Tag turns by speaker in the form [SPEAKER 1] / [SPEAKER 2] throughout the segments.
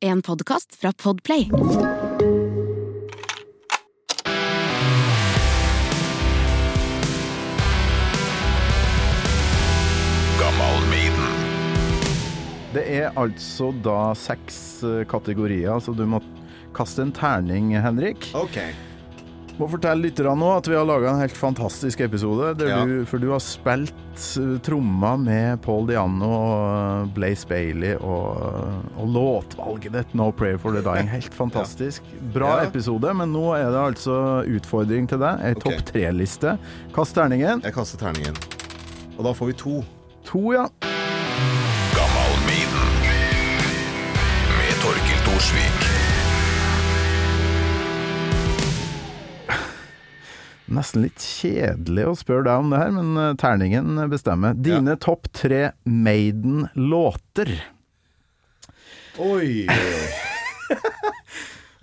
[SPEAKER 1] En podkast fra Podplay.
[SPEAKER 2] Det er altså da seks eh, kategorier, så du må kaste en terning, Henrik.
[SPEAKER 3] Ok.
[SPEAKER 2] Må fortelle lytterne nå at vi har laga en helt fantastisk episode, der
[SPEAKER 3] Ja.
[SPEAKER 2] du, for du har spilt eh, tromma med Paul Diano og eh, Blaze Bailey og, eh, og låtvalget ditt, 'No Prayer for the Dying'. Helt fantastisk. Bra
[SPEAKER 3] Ja.
[SPEAKER 2] episode, men nå er det altså utfordring til deg. Ei
[SPEAKER 3] Ok.
[SPEAKER 2] topp tre-liste. Kast terningen.
[SPEAKER 3] Jeg kaster terningen. Og da får vi to.
[SPEAKER 2] To, ja.
[SPEAKER 4] med Torkil Thorsvik.
[SPEAKER 2] Nesten litt kjedelig å spørre deg om det her, men eh, terningen bestemmer. Dine topp tre Maiden-låter.
[SPEAKER 3] Oi!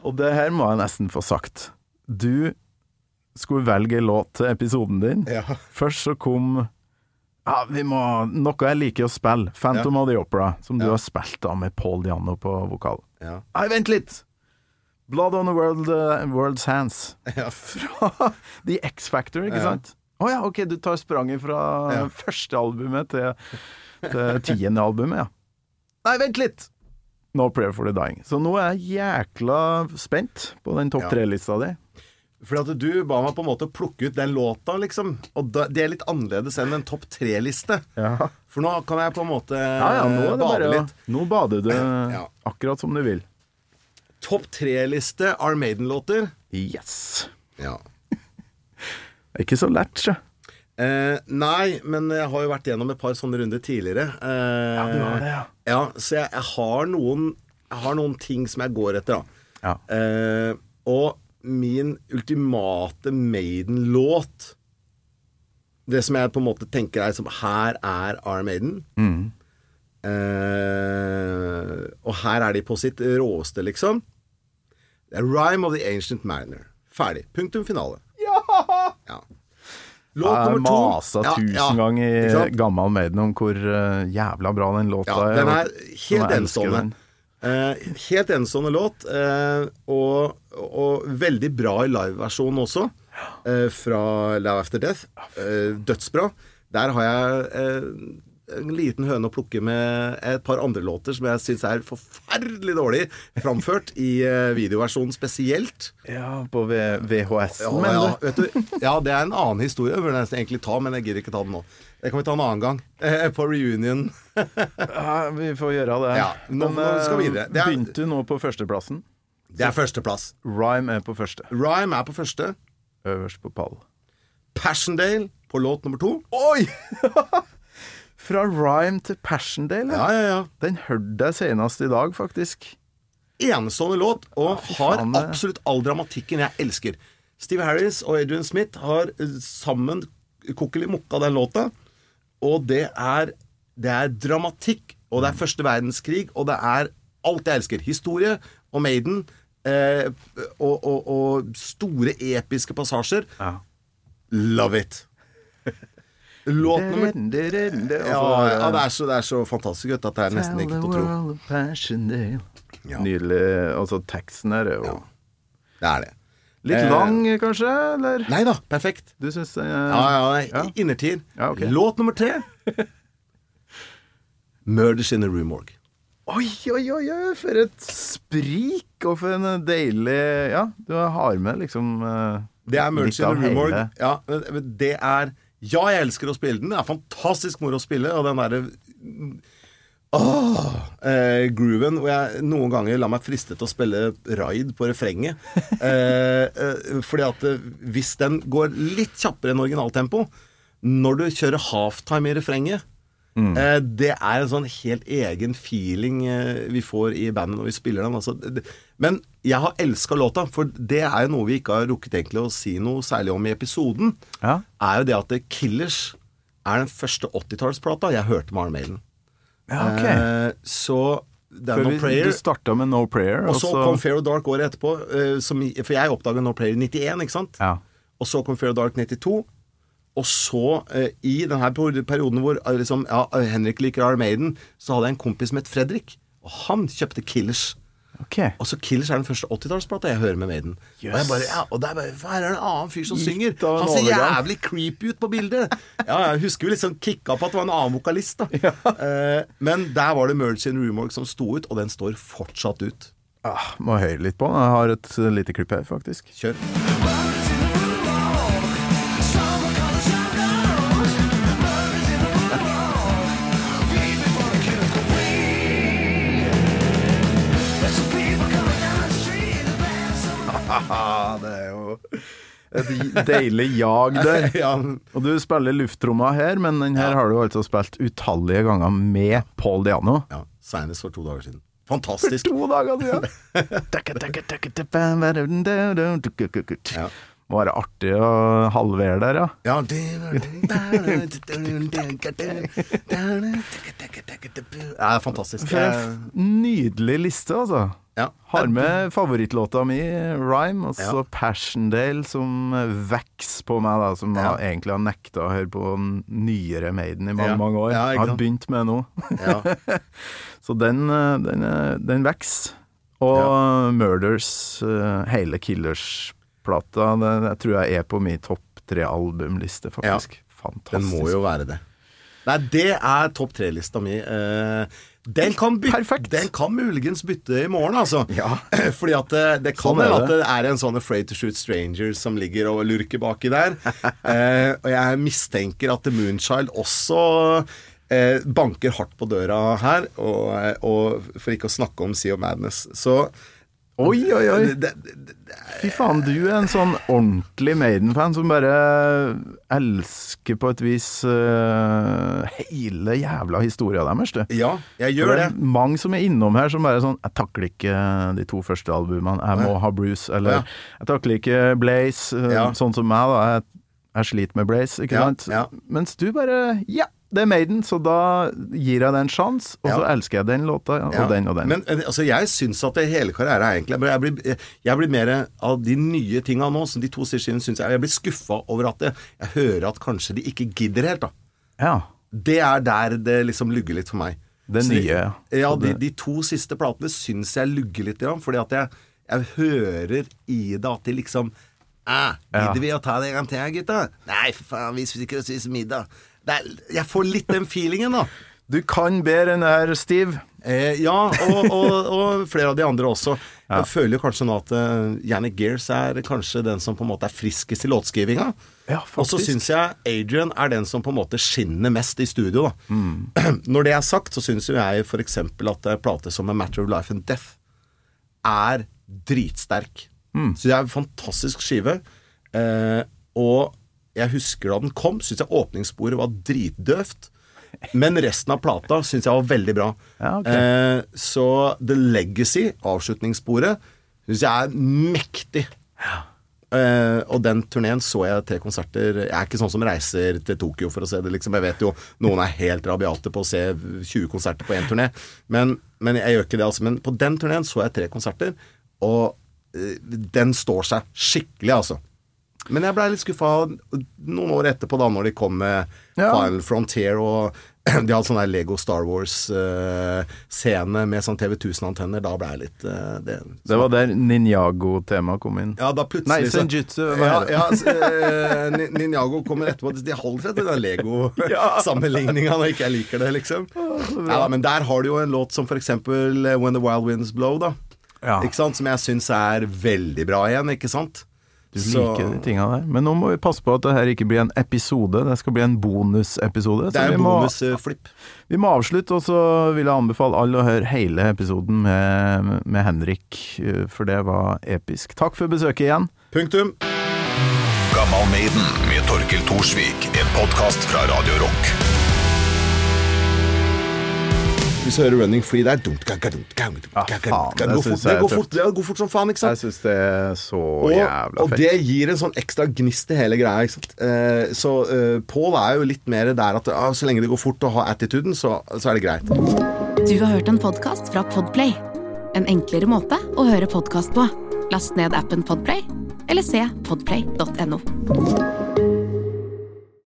[SPEAKER 2] Og det her må jeg nesten få sagt. Du skulle velge en låt til episoden din.
[SPEAKER 3] Ja.
[SPEAKER 2] Først så kom ja, vi må, noe jeg liker å spille, Phantom of the Opera, som du
[SPEAKER 3] Ja.
[SPEAKER 2] har spilt da med Paul Diano på vokal.
[SPEAKER 3] Ja.
[SPEAKER 2] Nei, vent litt! Blood on the world, eh, World's Hands.
[SPEAKER 3] Ja.
[SPEAKER 2] fra The X-Factor, ikke
[SPEAKER 3] Ja.
[SPEAKER 2] sant? Å ja, ok, du tar spranget fra
[SPEAKER 3] Ja.
[SPEAKER 2] første albumet til, til tiende albumet, ja. Nei, vent litt! No Prayer for the Dying. Så nå er jeg jækla spent på den topp
[SPEAKER 3] Ja.
[SPEAKER 2] tre-lista di.
[SPEAKER 3] Fordi at du ba meg på en måte plukke ut den låta, liksom. Og da, det er litt annerledes enn en topp tre-liste.
[SPEAKER 2] Ja.
[SPEAKER 3] For nå kan jeg på en måte
[SPEAKER 2] Ja, nå er det
[SPEAKER 3] Eh, bade
[SPEAKER 2] bare å
[SPEAKER 3] litt.
[SPEAKER 2] Nå bader du
[SPEAKER 3] Ja.
[SPEAKER 2] akkurat som du vil.
[SPEAKER 3] Topp tre-liste Are Maiden-låter.
[SPEAKER 2] Yes.
[SPEAKER 3] Ja.
[SPEAKER 2] Det er ikke så lett, sjø.
[SPEAKER 3] Eh, nei, men jeg har jo vært gjennom et par sånne runder tidligere. Eh,
[SPEAKER 2] Ja, du har det, ja.
[SPEAKER 3] ja, så jeg, jeg, har noen, jeg har noen ting som jeg går etter, da.
[SPEAKER 2] Ja.
[SPEAKER 3] Eh, og min ultimate Maiden-låt Det som jeg på en måte tenker er som Her er R. Maiden.
[SPEAKER 2] Mm.
[SPEAKER 3] Eh, og her er de på sitt råeste, liksom. Det er Rhyme of the Ancient Mariner. Ferdig. Punktum finale. Ja! Låt
[SPEAKER 2] Jeg
[SPEAKER 3] nummer to.
[SPEAKER 2] masa
[SPEAKER 3] Ja,
[SPEAKER 2] tusen
[SPEAKER 3] ja, ikke
[SPEAKER 2] ganger
[SPEAKER 3] sant?
[SPEAKER 2] i Gammal Maiden om hvor eh, jævla bra den låta
[SPEAKER 3] Ja,
[SPEAKER 2] er.
[SPEAKER 3] den
[SPEAKER 2] og-
[SPEAKER 3] er helt
[SPEAKER 2] og jeg elsker
[SPEAKER 3] enestående.
[SPEAKER 2] den.
[SPEAKER 3] Eh, helt enestående låt, eh, og, og veldig bra i liveversjonen også. eh, fra Love After Death. Eh, dødsbra. Der har jeg eh, en liten høne å plukke med et par andre låter som jeg syns er forferdelig dårlig framført, i eh, videoversjonen spesielt.
[SPEAKER 2] Ja, på V- VHS-en,
[SPEAKER 3] Ja,
[SPEAKER 2] mener
[SPEAKER 3] ja,
[SPEAKER 2] du?
[SPEAKER 3] vet du, ja, det er en annen historie jeg burde nesten egentlig ta, men jeg gidder ikke ta den nå. Det kan vi ta en annen gang. Eh, på reunion.
[SPEAKER 2] Ja, vi får gjøre det.
[SPEAKER 3] Ja, nå-
[SPEAKER 2] Men,
[SPEAKER 3] nå skal vi videre.
[SPEAKER 2] eh,
[SPEAKER 3] Det er-
[SPEAKER 2] Begynte du nå på førsteplassen?
[SPEAKER 3] Det er førsteplass.
[SPEAKER 2] Rhyme er på første.
[SPEAKER 3] Rhyme er på første.
[SPEAKER 2] Øverst på pall.
[SPEAKER 3] Passchendaele på låt nummer to.
[SPEAKER 2] Oi! Fra Rhyme til Passiondale.
[SPEAKER 3] Ja, ja, ja.
[SPEAKER 2] Den hørte jeg senest i dag, faktisk.
[SPEAKER 3] Enestående låt, og har
[SPEAKER 2] faen, det-
[SPEAKER 3] absolutt all dramatikken jeg elsker. Steve Harris og Adrian Smith har eh, sammen kokkelimokka den låta, og det er, det er dramatikk, og det er første verdenskrig, og det er alt jeg elsker. Historie og Maiden. Eh, og, og, og store episke passasjer.
[SPEAKER 2] Ja.
[SPEAKER 3] Love it! Låt nummer ja, ja, Altså, det, er så, det er så fantastisk vet du, at det er nesten ikke til å tro. Ja.
[SPEAKER 2] Nydelig. Altså, teksten her er jo
[SPEAKER 3] Det er det.
[SPEAKER 2] Litt
[SPEAKER 3] Eh,
[SPEAKER 2] lang, kanskje? Eller?
[SPEAKER 3] Nei da, perfekt.
[SPEAKER 2] Du syns eh,
[SPEAKER 3] Ja, ja,
[SPEAKER 2] Ja.
[SPEAKER 3] ja. Innertid.
[SPEAKER 2] Ja, ok.
[SPEAKER 3] Låt nummer tre. Murders in the Room Morgue.
[SPEAKER 2] Oi, oi, oi, oi, for et sprik og for en deilig Ja, du har med liksom eh,
[SPEAKER 3] Det er
[SPEAKER 2] litt
[SPEAKER 3] Murders in
[SPEAKER 2] av
[SPEAKER 3] the Room Morgue.
[SPEAKER 2] hele-
[SPEAKER 3] Ja, men- men det er Ja, jeg elsker å spille den. Det er fantastisk moro å spille, og den derre Åh, eh, grooven hvor jeg noen ganger lar meg friste til å spille raid på refrenget. Eh, eh, fordi at eh, hvis den går litt kjappere enn originaltempo, når du kjører halftime i refrenget
[SPEAKER 2] Mm.
[SPEAKER 3] eh, Det er en sånn helt egen feeling eh, vi får i bandet når vi spiller den. Altså. Det- Men jeg har elska låta, for det er jo noe vi ikke har rukket egentlig å si noe særlig om i episoden.
[SPEAKER 2] Ja.
[SPEAKER 3] Er jo det at eh, Killers er den første 80-tallsplata jeg hørte med Arn Mailen.
[SPEAKER 2] Ja, ok.
[SPEAKER 3] Eh, så det er
[SPEAKER 2] For
[SPEAKER 3] No
[SPEAKER 2] vi,
[SPEAKER 3] Prayer.
[SPEAKER 2] du starta med No Prayer,
[SPEAKER 3] Og så kom Fair og Dark året etterpå. eh, som, i- for jeg oppdaga No Prayer i 91, ikke sant?
[SPEAKER 2] ja.
[SPEAKER 3] Og så kom Fair og Dark 92. Og så, eh, i denne per- perioden hvor eh, liksom, ja, Henrik liker Armaden, så hadde jeg en kompis som het Fredrik. Og han kjøpte Killers.
[SPEAKER 2] Ok.
[SPEAKER 3] Og så Killers er den første 80-tallsplata jeg hører med Maiden. Og jeg bare, ja, og der, bare, her er det en annen fyr som
[SPEAKER 2] Litt
[SPEAKER 3] synger!
[SPEAKER 2] av en
[SPEAKER 3] Han ser
[SPEAKER 2] overgang.
[SPEAKER 3] jævlig creepy ut på bildet! Ja, jeg husker vi liksom kicka på at det var en annen vokalist, da. Eh, men der var det Merge in Rumorg som sto ut, og den står fortsatt ut.
[SPEAKER 2] Ah, må høre litt på den. Jeg har et eh, lite klipp her, faktisk.
[SPEAKER 3] Kjør.
[SPEAKER 2] Ah, det er jo et deilig jag der.
[SPEAKER 3] Ja,
[SPEAKER 2] Og du spiller lufttromma her, men den her har du altså spilt utallige ganger med Paul Diano.
[SPEAKER 3] ja Seinest for to dager siden. Fantastisk.
[SPEAKER 2] To dager siden!
[SPEAKER 3] Ja.
[SPEAKER 2] Må være artig å halvere der, ja.
[SPEAKER 3] Ja, det er fantastisk.
[SPEAKER 2] For en f- nydelig liste, altså.
[SPEAKER 3] Ja.
[SPEAKER 2] Har med favorittlåta mi, Rhyme, og så
[SPEAKER 3] Ja.
[SPEAKER 2] Passchendaele, som veks på meg, da, som
[SPEAKER 3] Ja.
[SPEAKER 2] har- egentlig har nekta å høre på n- nyere Maiden i mange,
[SPEAKER 3] Ja.
[SPEAKER 2] mange år.
[SPEAKER 3] Ja, ikke
[SPEAKER 2] har
[SPEAKER 3] sant.
[SPEAKER 2] begynt med nå.
[SPEAKER 3] Ja.
[SPEAKER 2] Så den, eh, den, eh, den veks. Og Murders, eh, hele Killers-plata, den jeg tror jeg er på min topp tre albumliste, faktisk.
[SPEAKER 3] Den
[SPEAKER 2] Fantastisk.
[SPEAKER 3] må jo være det. Nei, det er topp tre-lista mi. Eh, Den kan, byt-
[SPEAKER 2] Perfekt.
[SPEAKER 3] den kan muligens bytte i morgen, altså.
[SPEAKER 2] Ja.
[SPEAKER 3] Fordi at eh, det, det kan
[SPEAKER 2] Sånn er
[SPEAKER 3] være at
[SPEAKER 2] det.
[SPEAKER 3] det er en sånn Afraid to Shoot Strangers som ligger og lurker baki der. Eh, og jeg mistenker at The Moonchild også eh, banker hardt på døra her. Og, eh, og for ikke å snakke om Sea of Madness. Så
[SPEAKER 2] Oi, oi, oi!
[SPEAKER 3] det, det,
[SPEAKER 2] Fy faen, du er en sånn ordentlig Maiden-fan som bare elsker på et vis eh, hele jævla historia deres, du.
[SPEAKER 3] ja, jeg
[SPEAKER 2] For
[SPEAKER 3] gjør
[SPEAKER 2] det
[SPEAKER 3] det.
[SPEAKER 2] er mange som er innom her som bare sånn Jeg takler ikke eh, de to første albumene, jeg må ha Bruce, eller
[SPEAKER 3] Ja.
[SPEAKER 2] Jeg takler ikke Blaze, eh,
[SPEAKER 3] Ja.
[SPEAKER 2] sånn som meg, da. Jeg, jeg sliter med Blaze, ikke
[SPEAKER 3] Ja,
[SPEAKER 2] sant?
[SPEAKER 3] ja.
[SPEAKER 2] Mens du bare Ja, det er Maiden, så da gir jeg det en sjanse, og så
[SPEAKER 3] Ja.
[SPEAKER 2] elsker jeg den låta, og
[SPEAKER 3] Ja,
[SPEAKER 2] den og den.
[SPEAKER 3] Men eh, altså, jeg syns at det hele karrieren er egentlig Jeg blir, eh, jeg blir mer av de nye tinga nå, som de to siste skinnene syns jeg Jeg blir skuffa over at det, jeg hører at kanskje de ikke gidder helt, da.
[SPEAKER 2] ja.
[SPEAKER 3] Det er der det liksom lugger litt for meg.
[SPEAKER 2] Det
[SPEAKER 3] Så de-
[SPEAKER 2] nye,
[SPEAKER 3] Ja,
[SPEAKER 2] og
[SPEAKER 3] de,
[SPEAKER 2] det-
[SPEAKER 3] de to siste platene syns jeg lugger litt, grann, fordi at jeg, jeg hører i det at de liksom Æh,
[SPEAKER 2] Ja.
[SPEAKER 3] gidder vi å ta det en gang til, gutta? Nei, for faen, vi stikker og spiser middag. Det er, jeg får litt den feelingen, da.
[SPEAKER 2] Du kan bedre enn det her, Steve.
[SPEAKER 3] Eh, ja, og, og, og flere av de andre også. Jeg føler jo kanskje nå at eh, Janet Gears er kanskje den som på en måte er friskest i låtskrivinga.
[SPEAKER 2] Ja,
[SPEAKER 3] og så
[SPEAKER 2] faktisk.
[SPEAKER 3] syns jeg Adrian er den som på en måte skinner mest i studio, da.
[SPEAKER 2] Mm.
[SPEAKER 3] Når det er sagt, så syns jo jeg f.eks. at en plate som A Matter of Life and Death er dritsterk.
[SPEAKER 2] Mm.
[SPEAKER 3] Så det er en fantastisk skive. Eh, og jeg husker da den kom, syns jeg åpningssporet var dritdøvt. Men resten av plata syns jeg var veldig bra.
[SPEAKER 2] Ja, ok.
[SPEAKER 3] eh, så The Legacy, avslutningssporet, syns jeg er mektig. Eh, og den turneen så jeg tre konserter Jeg er ikke sånn som reiser til Tokyo for å se det, liksom. Jeg vet jo noen er helt rabiate på å se 20 konserter på én turné, men, men jeg gjør ikke det, altså. Men på den turneen så jeg tre konserter, og eh, den står seg skikkelig, altså. Men jeg blei litt skuffa noen år etterpå, da, når de kom med
[SPEAKER 2] Ja.
[SPEAKER 3] Final Frontier og de hadde sånn der Lego Star Wars-scene med sånn TV 1000-antenner. Da blei jeg litt eh, det,
[SPEAKER 2] Det var der Ninjago-temaet kom inn.
[SPEAKER 3] ja, da plutselig
[SPEAKER 2] Nei,
[SPEAKER 3] så-
[SPEAKER 2] Senjutsu, hva
[SPEAKER 3] Ja,
[SPEAKER 2] er det?
[SPEAKER 3] ja, s- eh, Nin- Ninjago kommer etterpå. De holder seg til den Lego-sammenligninga når ikke jeg liker det, liksom. Ja, men der har du jo en låt som for eksempel eh, When the Wild Winds Blow, da.
[SPEAKER 2] Ja.
[SPEAKER 3] Ikke sant? Som jeg syns er veldig bra igjen, ikke sant?
[SPEAKER 2] Du
[SPEAKER 3] Så-
[SPEAKER 2] liker de tinga der. Men nå må vi passe på at det her ikke blir en episode, det skal bli en
[SPEAKER 3] Det
[SPEAKER 2] bonusepisode. så
[SPEAKER 3] er
[SPEAKER 2] Altså, vi
[SPEAKER 3] en
[SPEAKER 2] må-
[SPEAKER 3] bonusflipp.
[SPEAKER 2] Vi må avslutte, og så vil jeg anbefale alle å høre hele episoden med, med Henrik, eh, for det var episk. Takk for besøket igjen.
[SPEAKER 3] Punktum.
[SPEAKER 4] Gammal Maiden med Torkel Thorsvik. En podkast fra Radio Rock.
[SPEAKER 3] Hvis du hører Running Free der dunk, dunk, dunk, dunk, dunk,
[SPEAKER 2] Ja,
[SPEAKER 3] dunk,
[SPEAKER 2] Ah, faen, det
[SPEAKER 3] Det går
[SPEAKER 2] synes
[SPEAKER 3] fort,
[SPEAKER 2] jeg er
[SPEAKER 3] det går
[SPEAKER 2] tøft.
[SPEAKER 3] fort, det går fort som faen, ikke sant?
[SPEAKER 2] syns det er så
[SPEAKER 3] Og, og det gir en sånn ekstra gnist til hele greia. Ikke sant? Eh, så eh, Pål er jo litt mer der at ah, så lenge det går fort og har attituden, så, så er det greit.
[SPEAKER 1] Du har hørt en podkast fra Podplay. En enklere måte å høre podkast på. Last ned appen Podplay, eller se podplay.no.